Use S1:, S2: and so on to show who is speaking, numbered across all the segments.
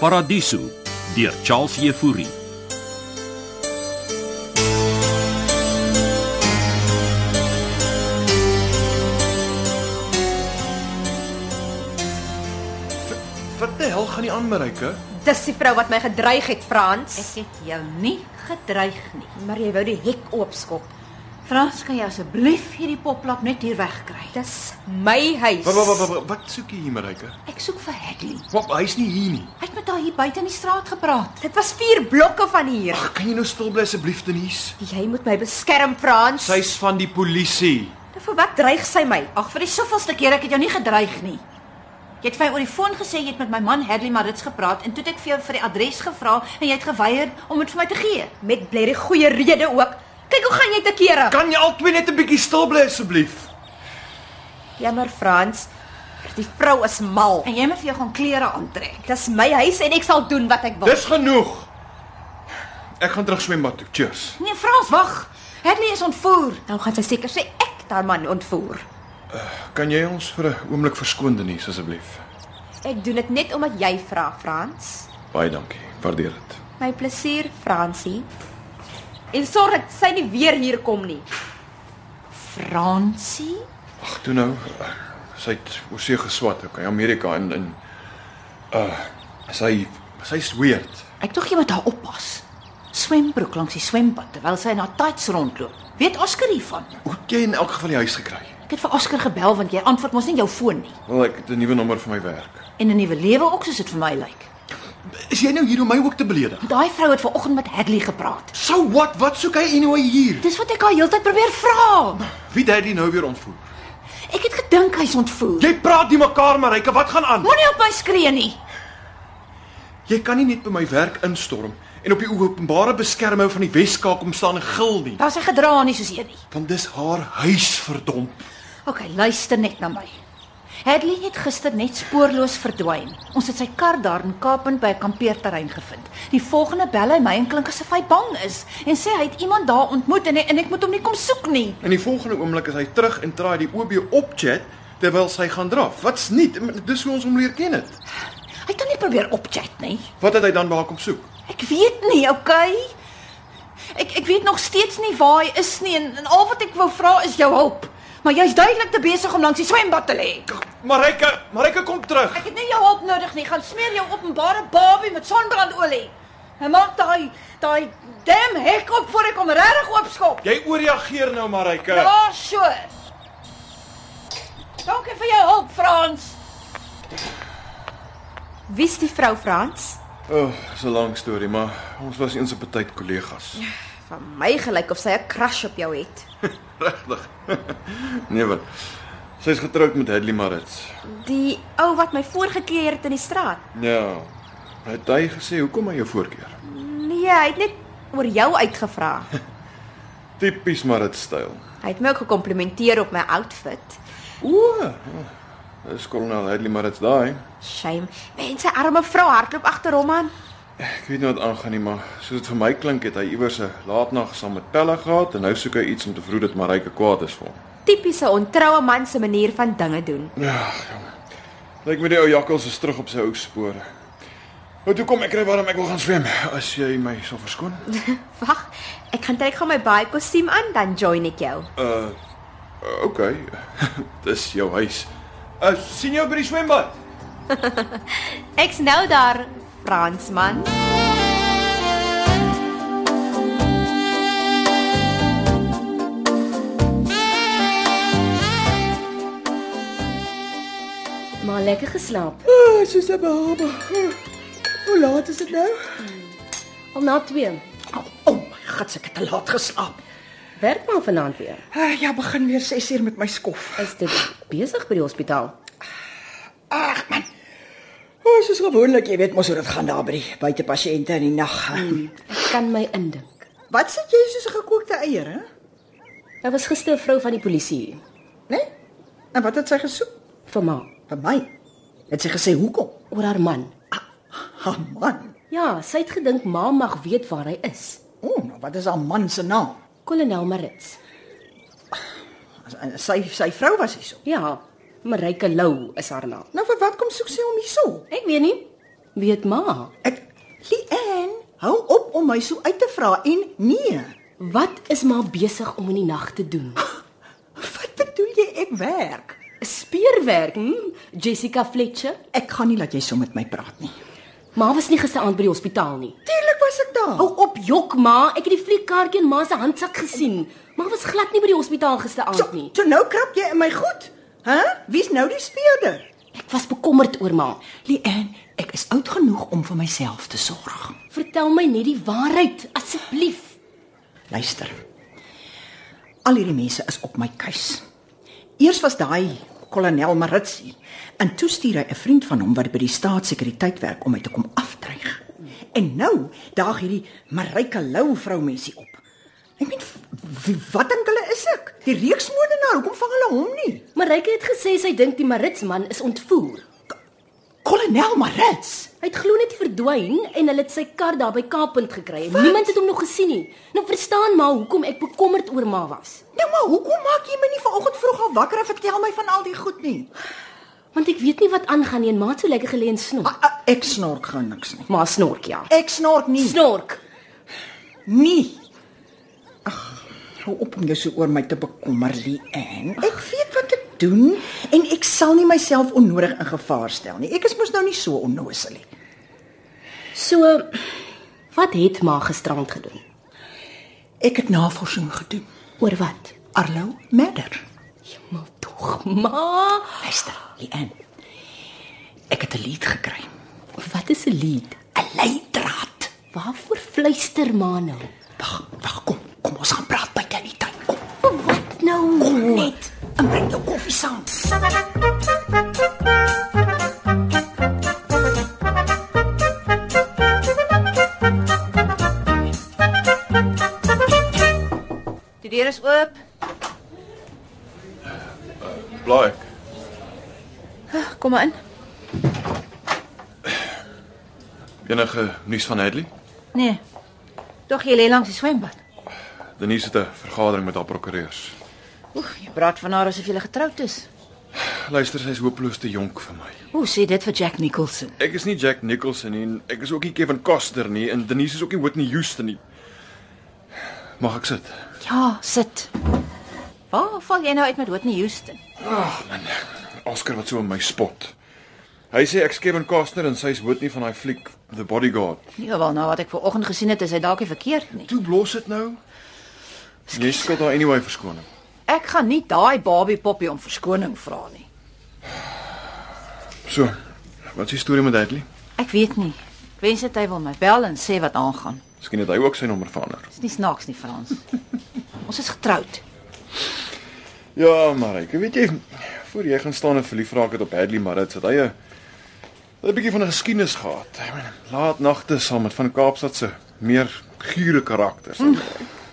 S1: Paradiso deur Charles Jefouri.
S2: Vertel, gaan nie aan Marike.
S3: Dis die vrou wat my gedreig het, Frans.
S4: Ek het jou nie gedreig nie.
S3: Maar jy wou die hek oopskop.
S4: Frans, kan jy asseblief hierdie poplap net hier wegkry?
S3: Dis my huis.
S2: Wat wat wat, wat, wat soek jy hier Marike?
S4: Ek soek vir Hadley.
S2: Wat hy's nie hier nie.
S4: Hy het met haar hier buite in die straat gepraat.
S3: Dit was 4 blokke van hier.
S2: Ag, kan jy nou stil bly asseblief Denise?
S3: Jy moet my beskerm, Frans.
S2: Sy's van die polisie.
S3: Nou, Vir wat dreig sy my?
S4: Ag, vir die soveelste keer ek het jou nie gedreig nie. Jy het vir my oor die foon gesê jy het met my man Hadley Marits gepraat en toe het ek vir jou vir die adres gevra en jy het geweier om dit vir my te gee.
S3: Met blerrie goeie rede ook. Kyk hoe gaan jy te kere.
S2: Kan jy albei net 'n bietjie stil bly asseblief?
S3: Jammer, Ja, Frans. Die vrou is mal.
S4: En jy moet vir jou gaan klere aantrek.
S3: Dis my huis en ek sal doen wat ek wil.
S2: Dis genoeg. Ek gaan terug swembad toe. Cheers.
S4: Nee, Frans, wag. Hadley is ontvoer.
S3: Nou gaan sy seker sê ek het haar man ontvoer.
S2: Kan jy ons vir 'n oomblik verskoon Denise asseblief?
S3: Ek doen dit net omdat jy vra, Frans.
S2: Baie dankie. Waardeer dit.
S3: My plesier, Fransie. En sorg dat sy nie weer hier kom nie.
S4: Fransie?
S2: Ag, toe nou. Sy het oorsee geswat, okay, Amerika en en uh sy sy's weird.
S4: Ek tog jy moet haar oppas. Swembroek langs die swembad terwyl sy in haar tights rondloop. Weet Oscar hiervan?
S2: Hoe het jy in elk geval die huis gekry?
S4: Ek het vir Oscar gebel want jy antwoord mos nie jou foon nie.
S2: Wel, ek het 'n nuwe nommer vir my werk.
S4: En 'n nuwe lewe ook soos dit vir my lyk.
S2: Is jy nou hier om my ook te beledig?
S4: Daai vrou het ver oggend met Hadley gepraat.
S2: So what? Wat soek hy anyway hier?
S4: Dis wat ek haar heeltyd probeer vra.
S2: Wie daddy nou weer ontvoer?
S4: Ek het gedink hy's ontvoer.
S2: Jy praat nie mekaar maar Ryke, wat gaan aan?
S4: Moenie op my skree nie.
S2: Jy kan nie net by my werk instorm en op die openbare beskerming van die Wes-Kaap kom staan en gil nie.
S4: Daar's hy gedra nie soos een nie.
S2: Want dis haar huis verdomp.
S4: OK, luister net na my. Hadley het gister net spoorloos verdwyn. Ons het sy kar daar in Kaapstad by 'n kampeerterrein gevind. Die volgende bel hy my en klink asof hy bang is en sê hy het iemand daar ontmoet en, hy, en ek moet hom nie kom soek nie.
S2: In die volgende oomblik is hy terug en traai die OB op chat terwyl sy gaan draf. Wat's nie? Dis hoe ons hom leer ken het.
S4: Hy het hom nie probeer opchat nie.
S2: Wat het hy dan by haar kom soek?
S4: Ek weet nie, OK? Ek ek weet nog steeds nie waar hy is nie en, en al wat ek wou vra is jou hulp. Maar jy's duidelik te besig om langs die swembad te lê.
S2: Maar Ryke, maar Ryke kom terug.
S4: Ek het nie jou hulp nodig nie. Gaan smeer jou openbare babie met sonbrandolie. En maak daai daai damn hek op voor ek hom regtig oopskop.
S2: Jy ooreageer nou maar Ryke.
S4: Ja, so. Dankie vir jou hulp, Frans.
S3: Wie's die vrou, Frans?
S2: O, oh, so lank storie, maar ons was eens op 'n tyd kollegas.
S3: Van my gelyk of sy 'n crush op jou het.
S2: Regtig. nee, maar sy's getroud met Hadley Marits.
S3: Die ou wat my voorgekeer het in die straat.
S2: Ja. Het hy gesê hoekom hy jou voorkeur?
S3: Nee, hy het net oor jou uitgevra.
S2: Tipies Marits styl.
S3: Hy het my ook gekomplimenteer op my outfit.
S2: O. ja. Dis kolonel Hadley Marits daai.
S3: Shame. Mense arme vrou hardloop agter hom aan.
S2: Ek weet nie wat aangaan nie, maar soos dit vir my klink het hy iewers 'n laatnag saam met Pelle gehad en nou soek hy iets om te vroeg dat Marika kwaad is vir hom.
S3: Tipiese ontroue man se manier van dinge doen.
S2: Ja. jong. Lyk my die ou jakkals is terug op sy ou spore. Nou toe kom ek kry warm, ek wil gaan swem as jy my sal verskoon.
S3: Wag, ek gaan trek gou my baie kostuum aan dan join ek jou.
S2: Uh okay. Dis jou huis. Uh sien jou by die swembad.
S3: Ek's nou daar, Fransman.
S5: Maar lekker geslaap.
S6: Oh, soos 'n baba. Hoe laat is dit nou?
S5: Al na 2.
S6: O, oh my god, ek het te laat geslaap.
S5: Werk maar vanaand weer.
S6: Uh, ja, begin weer 6 uur met my skof.
S5: Is dit besig by die hospitaal?
S6: Ag man. O, oh, soos gewoonlik, jy weet mos hoe dit gaan daar by die buitepasiënte in die nag. Hmm.
S5: Ek kan my indink.
S6: Wat sit jy soos 'n gekookte eier, hè?
S5: Daar was gister 'n vrou van die polisie hier
S6: Né? Nee? En wat het sy gesoek?
S5: vir ma
S6: Vir my. Het sy gesê hoekom?
S5: oor haar man.
S6: Ha man.
S5: Ja, sy het gedink ma mag weet waar hy is.
S6: O, oh, nou wat is haar man se naam?
S5: Kolonel Marits.
S6: En eh, Sy sy vrou was hierso.
S5: Ja, Marika Lou is haar naam.
S6: Nou vir wat kom soek sy hom hierso?
S5: Ek weet nie. Weet ma,
S6: Ek Lien, hou op om my so uit te vra en nee.
S5: wat is ma besig om in die nag te doen?
S6: Wat bedoel jy ek werk?
S5: Speurwerk, hm? Jessica Fletcher.
S6: Ek gaan nie laat jy so met my praat nie.
S5: Ma was nie gisteraand by die hospitaal nie.
S6: Tuurlik was ek daar.
S5: Hou op jok ma, ek het die fliekkaartjie in ma se handsak gesien. Ma was glad nie by die hospitaal
S6: so,
S5: gisteraand nie.
S6: so nou krap jy in my goed. Hæ? Huh? Wie's nou die speurder?
S5: Ek was bekommerd oor ma.
S6: Lien, ek is oud genoeg om vir myself te sorg.
S5: Vertel my net die waarheid asseblief.
S6: Luister. Al hierdie mense is op my keus. Eers was daai kolonel Maritsi en toe stuur hy 'n vriend van hom wat by die staatssekuriteit werk om my te kom afdreig. En nou daag hierdie Mareike Lou vrou mensie op. Ek weet wat dink hulle is ek? Die reeksmoordenaar, hoekom vang hulle hom nie?
S5: Mareike het gesê sy dink die Maritsman is ontvoer.
S6: Kolonel Marits.
S5: Hy het glo net verdwyn en hulle het sy kar daar by Kaappunt gekry. en Niemand het hom nog gesien nie. Nou verstaan maar hoekom ek bekommerd oor ma was.
S6: Nou maar hoekom maak jy my nie vanoggend vroeg al wakker en vertel my van al die goed nie?
S5: Want ek weet nie wat aangaan nie en ma het so lekker geleë en snork.
S6: A, a, ek snork gaan niks nie.
S5: Ma snork ja.
S6: Ek snork nie.
S5: Snork.
S6: Nee. Ag, hou op om jou so oor my te bekommer, Lian. Ek weet wat ek doen en ek sal nie myself onnodig in gevaar stel nie. Ek is mos nou nie so onnoosel nie.
S5: So wat het ma gisterand gedoen?
S6: Ek het navorsing gedoen.
S5: Oor wat?
S6: Arlo Madder.
S5: Maar tog ma,
S6: Luister, Lian. Ek het 'n lied gekry.
S5: wat is 'n lied?
S6: 'n Leidraad.
S5: Waarvoor fluister ma nou?
S6: Wag, wag, kom. Kom ons gaan praat buite in die tuin. Kom.
S5: Vir wat nou?
S6: Kom net en bring jou koffie saam.
S3: Die deur is oop.
S2: Blaai ek.
S3: Kom maar in.
S2: Enige nuus van Hadley?
S3: Nee. Tog jy lê langs die swembad.
S2: Denise het 'n vergadering met haar prokureurs.
S3: Oeg, jy praat van haar asof jy getroud is.
S2: Luister, sy's hopeloos te jonk vir my.
S3: Hoe sê dit vir Jack Nicholson?
S2: Ek is nie Jack Nicholson nie en ek is ook nie Kevin Costner nie en Denise is ook nie Whitney Houston nie. Mag ek sit?
S3: Ja, sit. Waar val jy nou uit met Whitney Houston?
S2: Oscar wat so in my spot. Hy sê ek's Kevin Costner en sy's Whitney van daai fliek The Bodyguard.
S3: Ja, wel nou wat ek ver oggend gesien het, is hy dalk nie verkeerd nie.
S2: Toe blos dit nou. Jy skuld haar anyway verskoning.
S3: Ek gaan nie daai Barbie poppie om verskoning vra nie.
S2: So, wat is die storie met Hadley?
S3: Ek weet nie. Ek wens dit hy wil my bel en sê wat aangaan.
S2: Miskien het hy ook sy nommer verander.
S3: Dis nie snaaks nie, Frans. Ons is getroud.
S2: Ja, maar ek weet jy voor jy gaan staan en verlief raak het op Hadley Maritz het hy 'n 'n bietjie van 'n geskiedenis gehad. Ek meen, laat nagte saam met van Kaapstad se meer gure karakters. Ek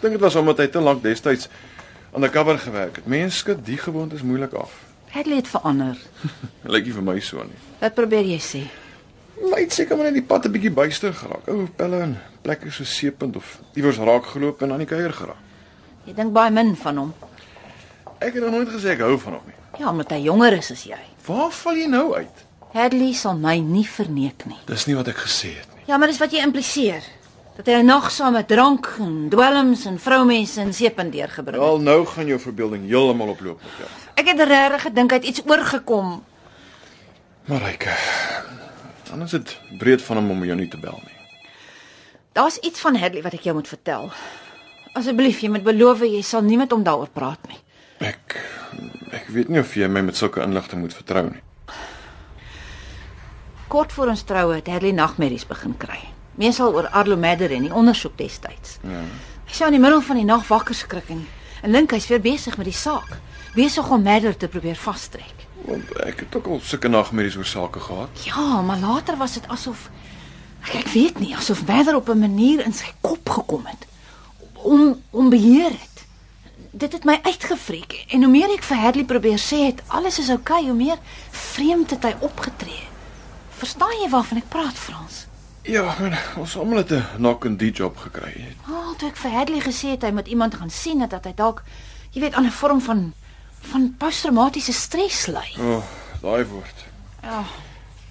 S2: dink dit was omdat hy te lank destyds undercover gewerk het. Mense skud die gewoontes moeilik af.
S3: Hadley het verander.
S2: Lyk nie vir my so nie.
S3: Wat probeer jy sê?
S2: Hy het seker maar net die pad 'n bietjie byster geraak. Ou pelle en plekke so seepunt of iewers raak geloop en aan die kuier geraak.
S3: Jy dink baie min van hom.
S2: Ek het nog nooit gesê ek hou van hom nie.
S3: Ja, omdat hy jonger is as jy.
S2: Waar val jy nou uit?
S3: Hadley sal my nie verneek nie.
S2: Dis nie wat ek gesê het nie.
S3: Ja, maar dis wat jy impliseer. Dat hy 'n nag saam met drank en dwelms en vroumense en seepen deurgebring het.
S2: Wel nou gaan jou verbeelding heeltemal oploop met jou.
S3: Ek het regtig gedink hy het iets oorgekom.
S2: Marike. eh, Dan is dit breed van hom om jou nie te bel nie.
S3: Daar's iets van Hadley wat ek jou moet vertel. Asseblief, jy moet beloof jy sal nie met hom daaroor praat nie.
S2: Ek ek weet nie of jy my met sulke inligting moet vertrou nie.
S3: Kort voor ons troue het Hadley nagmerries begin kry. Meesal oor Arlo Madder en die ondersoek destyds. Ja. Hy sou in die middel van die nag wakker skrik en, en dink hy's weer besig met die saak, besig om Madder te probeer vastrek.
S2: Want ek het ook al sulke nagmerries oor sake gehad.
S3: Ja, maar later was dit asof ek, ek weet nie, asof Madder op 'n manier in sy kop gekom het. Om om beheer het. Dit het my uitgevreek en hoe meer ek vir Hadley probeer sê het alles is oukei, okay, hoe meer vreemd het hy opgetree. Verstaan jy waarvan ek praat, Frans?
S2: Ja, ek meen, ons almal het 'n knock and die job gekry.
S3: Oh, toe ek vir Hadley gesê het hy moet iemand gaan sien het, dat hy dalk, jy weet, aan 'n vorm van van posttraumatiese stres ly.
S2: O, oh, daai woord.
S3: Ja.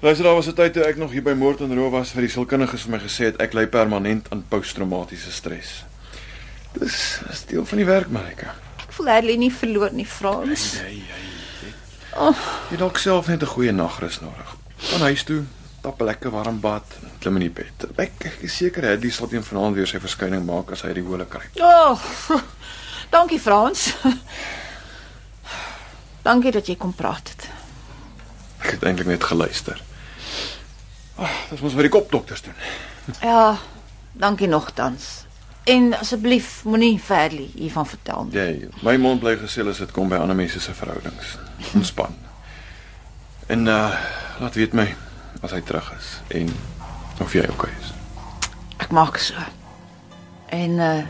S2: Luister, daar was 'n tyd toe ek nog hier by moord en roof was vir die sielkundiges vir my gesê het ek ly permanent aan posttraumatiese stres. Dis is deel van die werk, Marika.
S3: Ek voel Hadley nie verloor nie, Frans. Oh.
S2: Hey, hey. Jy dalk self net 'n goeie nagrus nodig. Gaan huis toe, tap 'n lekker warm bad, en klim in die bed. Ek, ek is seker Hadley sal teen vanaand weer sy verskyning maak as hy die hole kry.
S3: Ja. Oh, dankie Frans. Dankie dat jy kom praat het.
S2: Ek het eintlik net geluister. Ag, oh, dis mos wat die kopdokters doen.
S3: Ja, dankie nogtans. En asseblief moenie vir Hadley hiervan vertel nie.
S2: Jy, my mond bly gesel as dit kom by ander mense se verhoudings. Ontspan. En uh laat weet my as hy terug is en of jy okay is.
S3: Ek maak so. En uh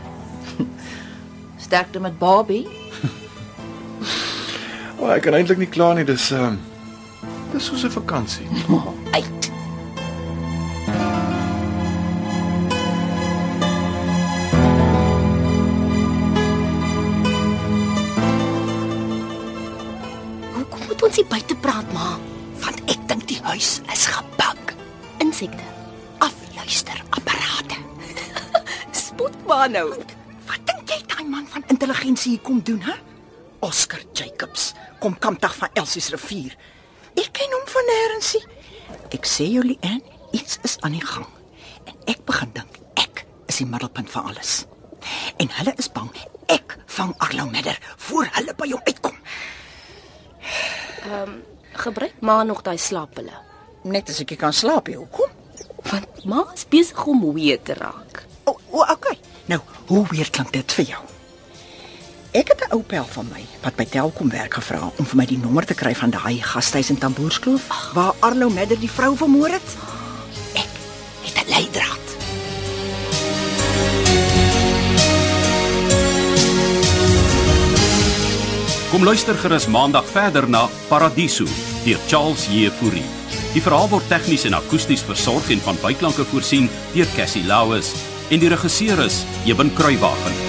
S3: sterkte met Barbie.
S2: Maar ek kan eintlik nie kla nie, dis ehm um, dis soos 'n vakansie.
S3: Uit.
S5: Hoekom moet ons hier buite praat, ma?
S7: want ek dink die huis is gebak.
S5: Insekte.
S7: Afluister apparate.
S5: Spot maar nou.
S7: Wat dink jy daai man van intelligensie hier kom doen, hè?
S6: Oscar Jacobs kom kampdag van Elsie se rivier.
S7: Ek ken hom van nêrensie.
S6: Ek sê jou Lian, iets is aan die gang. En ek begin dink ek is die middelpunt van alles. En hulle is bang ek vang Arlo Midder voor hulle by hom uitkom.
S5: Gebruik ma nog daai slaappille.
S6: Net as ek nie kan slaap, jy hoekom?
S5: Want ma is besig om weer te raak.
S6: O, o, okay. Nou, hoe weer klink dit vir jou? Ek het 'n ou pel van my wat by Telkom werk gevra om vir my die nommer te kry van daai gasthuis in Tamboerskloof waar Arlo Midder die vrou vermoor het.
S7: Ek het 'n leidraad.
S1: Kom luister gerus maandag verder na Paradiso deur Charles Jefouri. Die verhaal word tegnies en akoesties versorg en van byklanke voorsien deur Cassie Lauis en die regisseur is Eben Kruiwagen.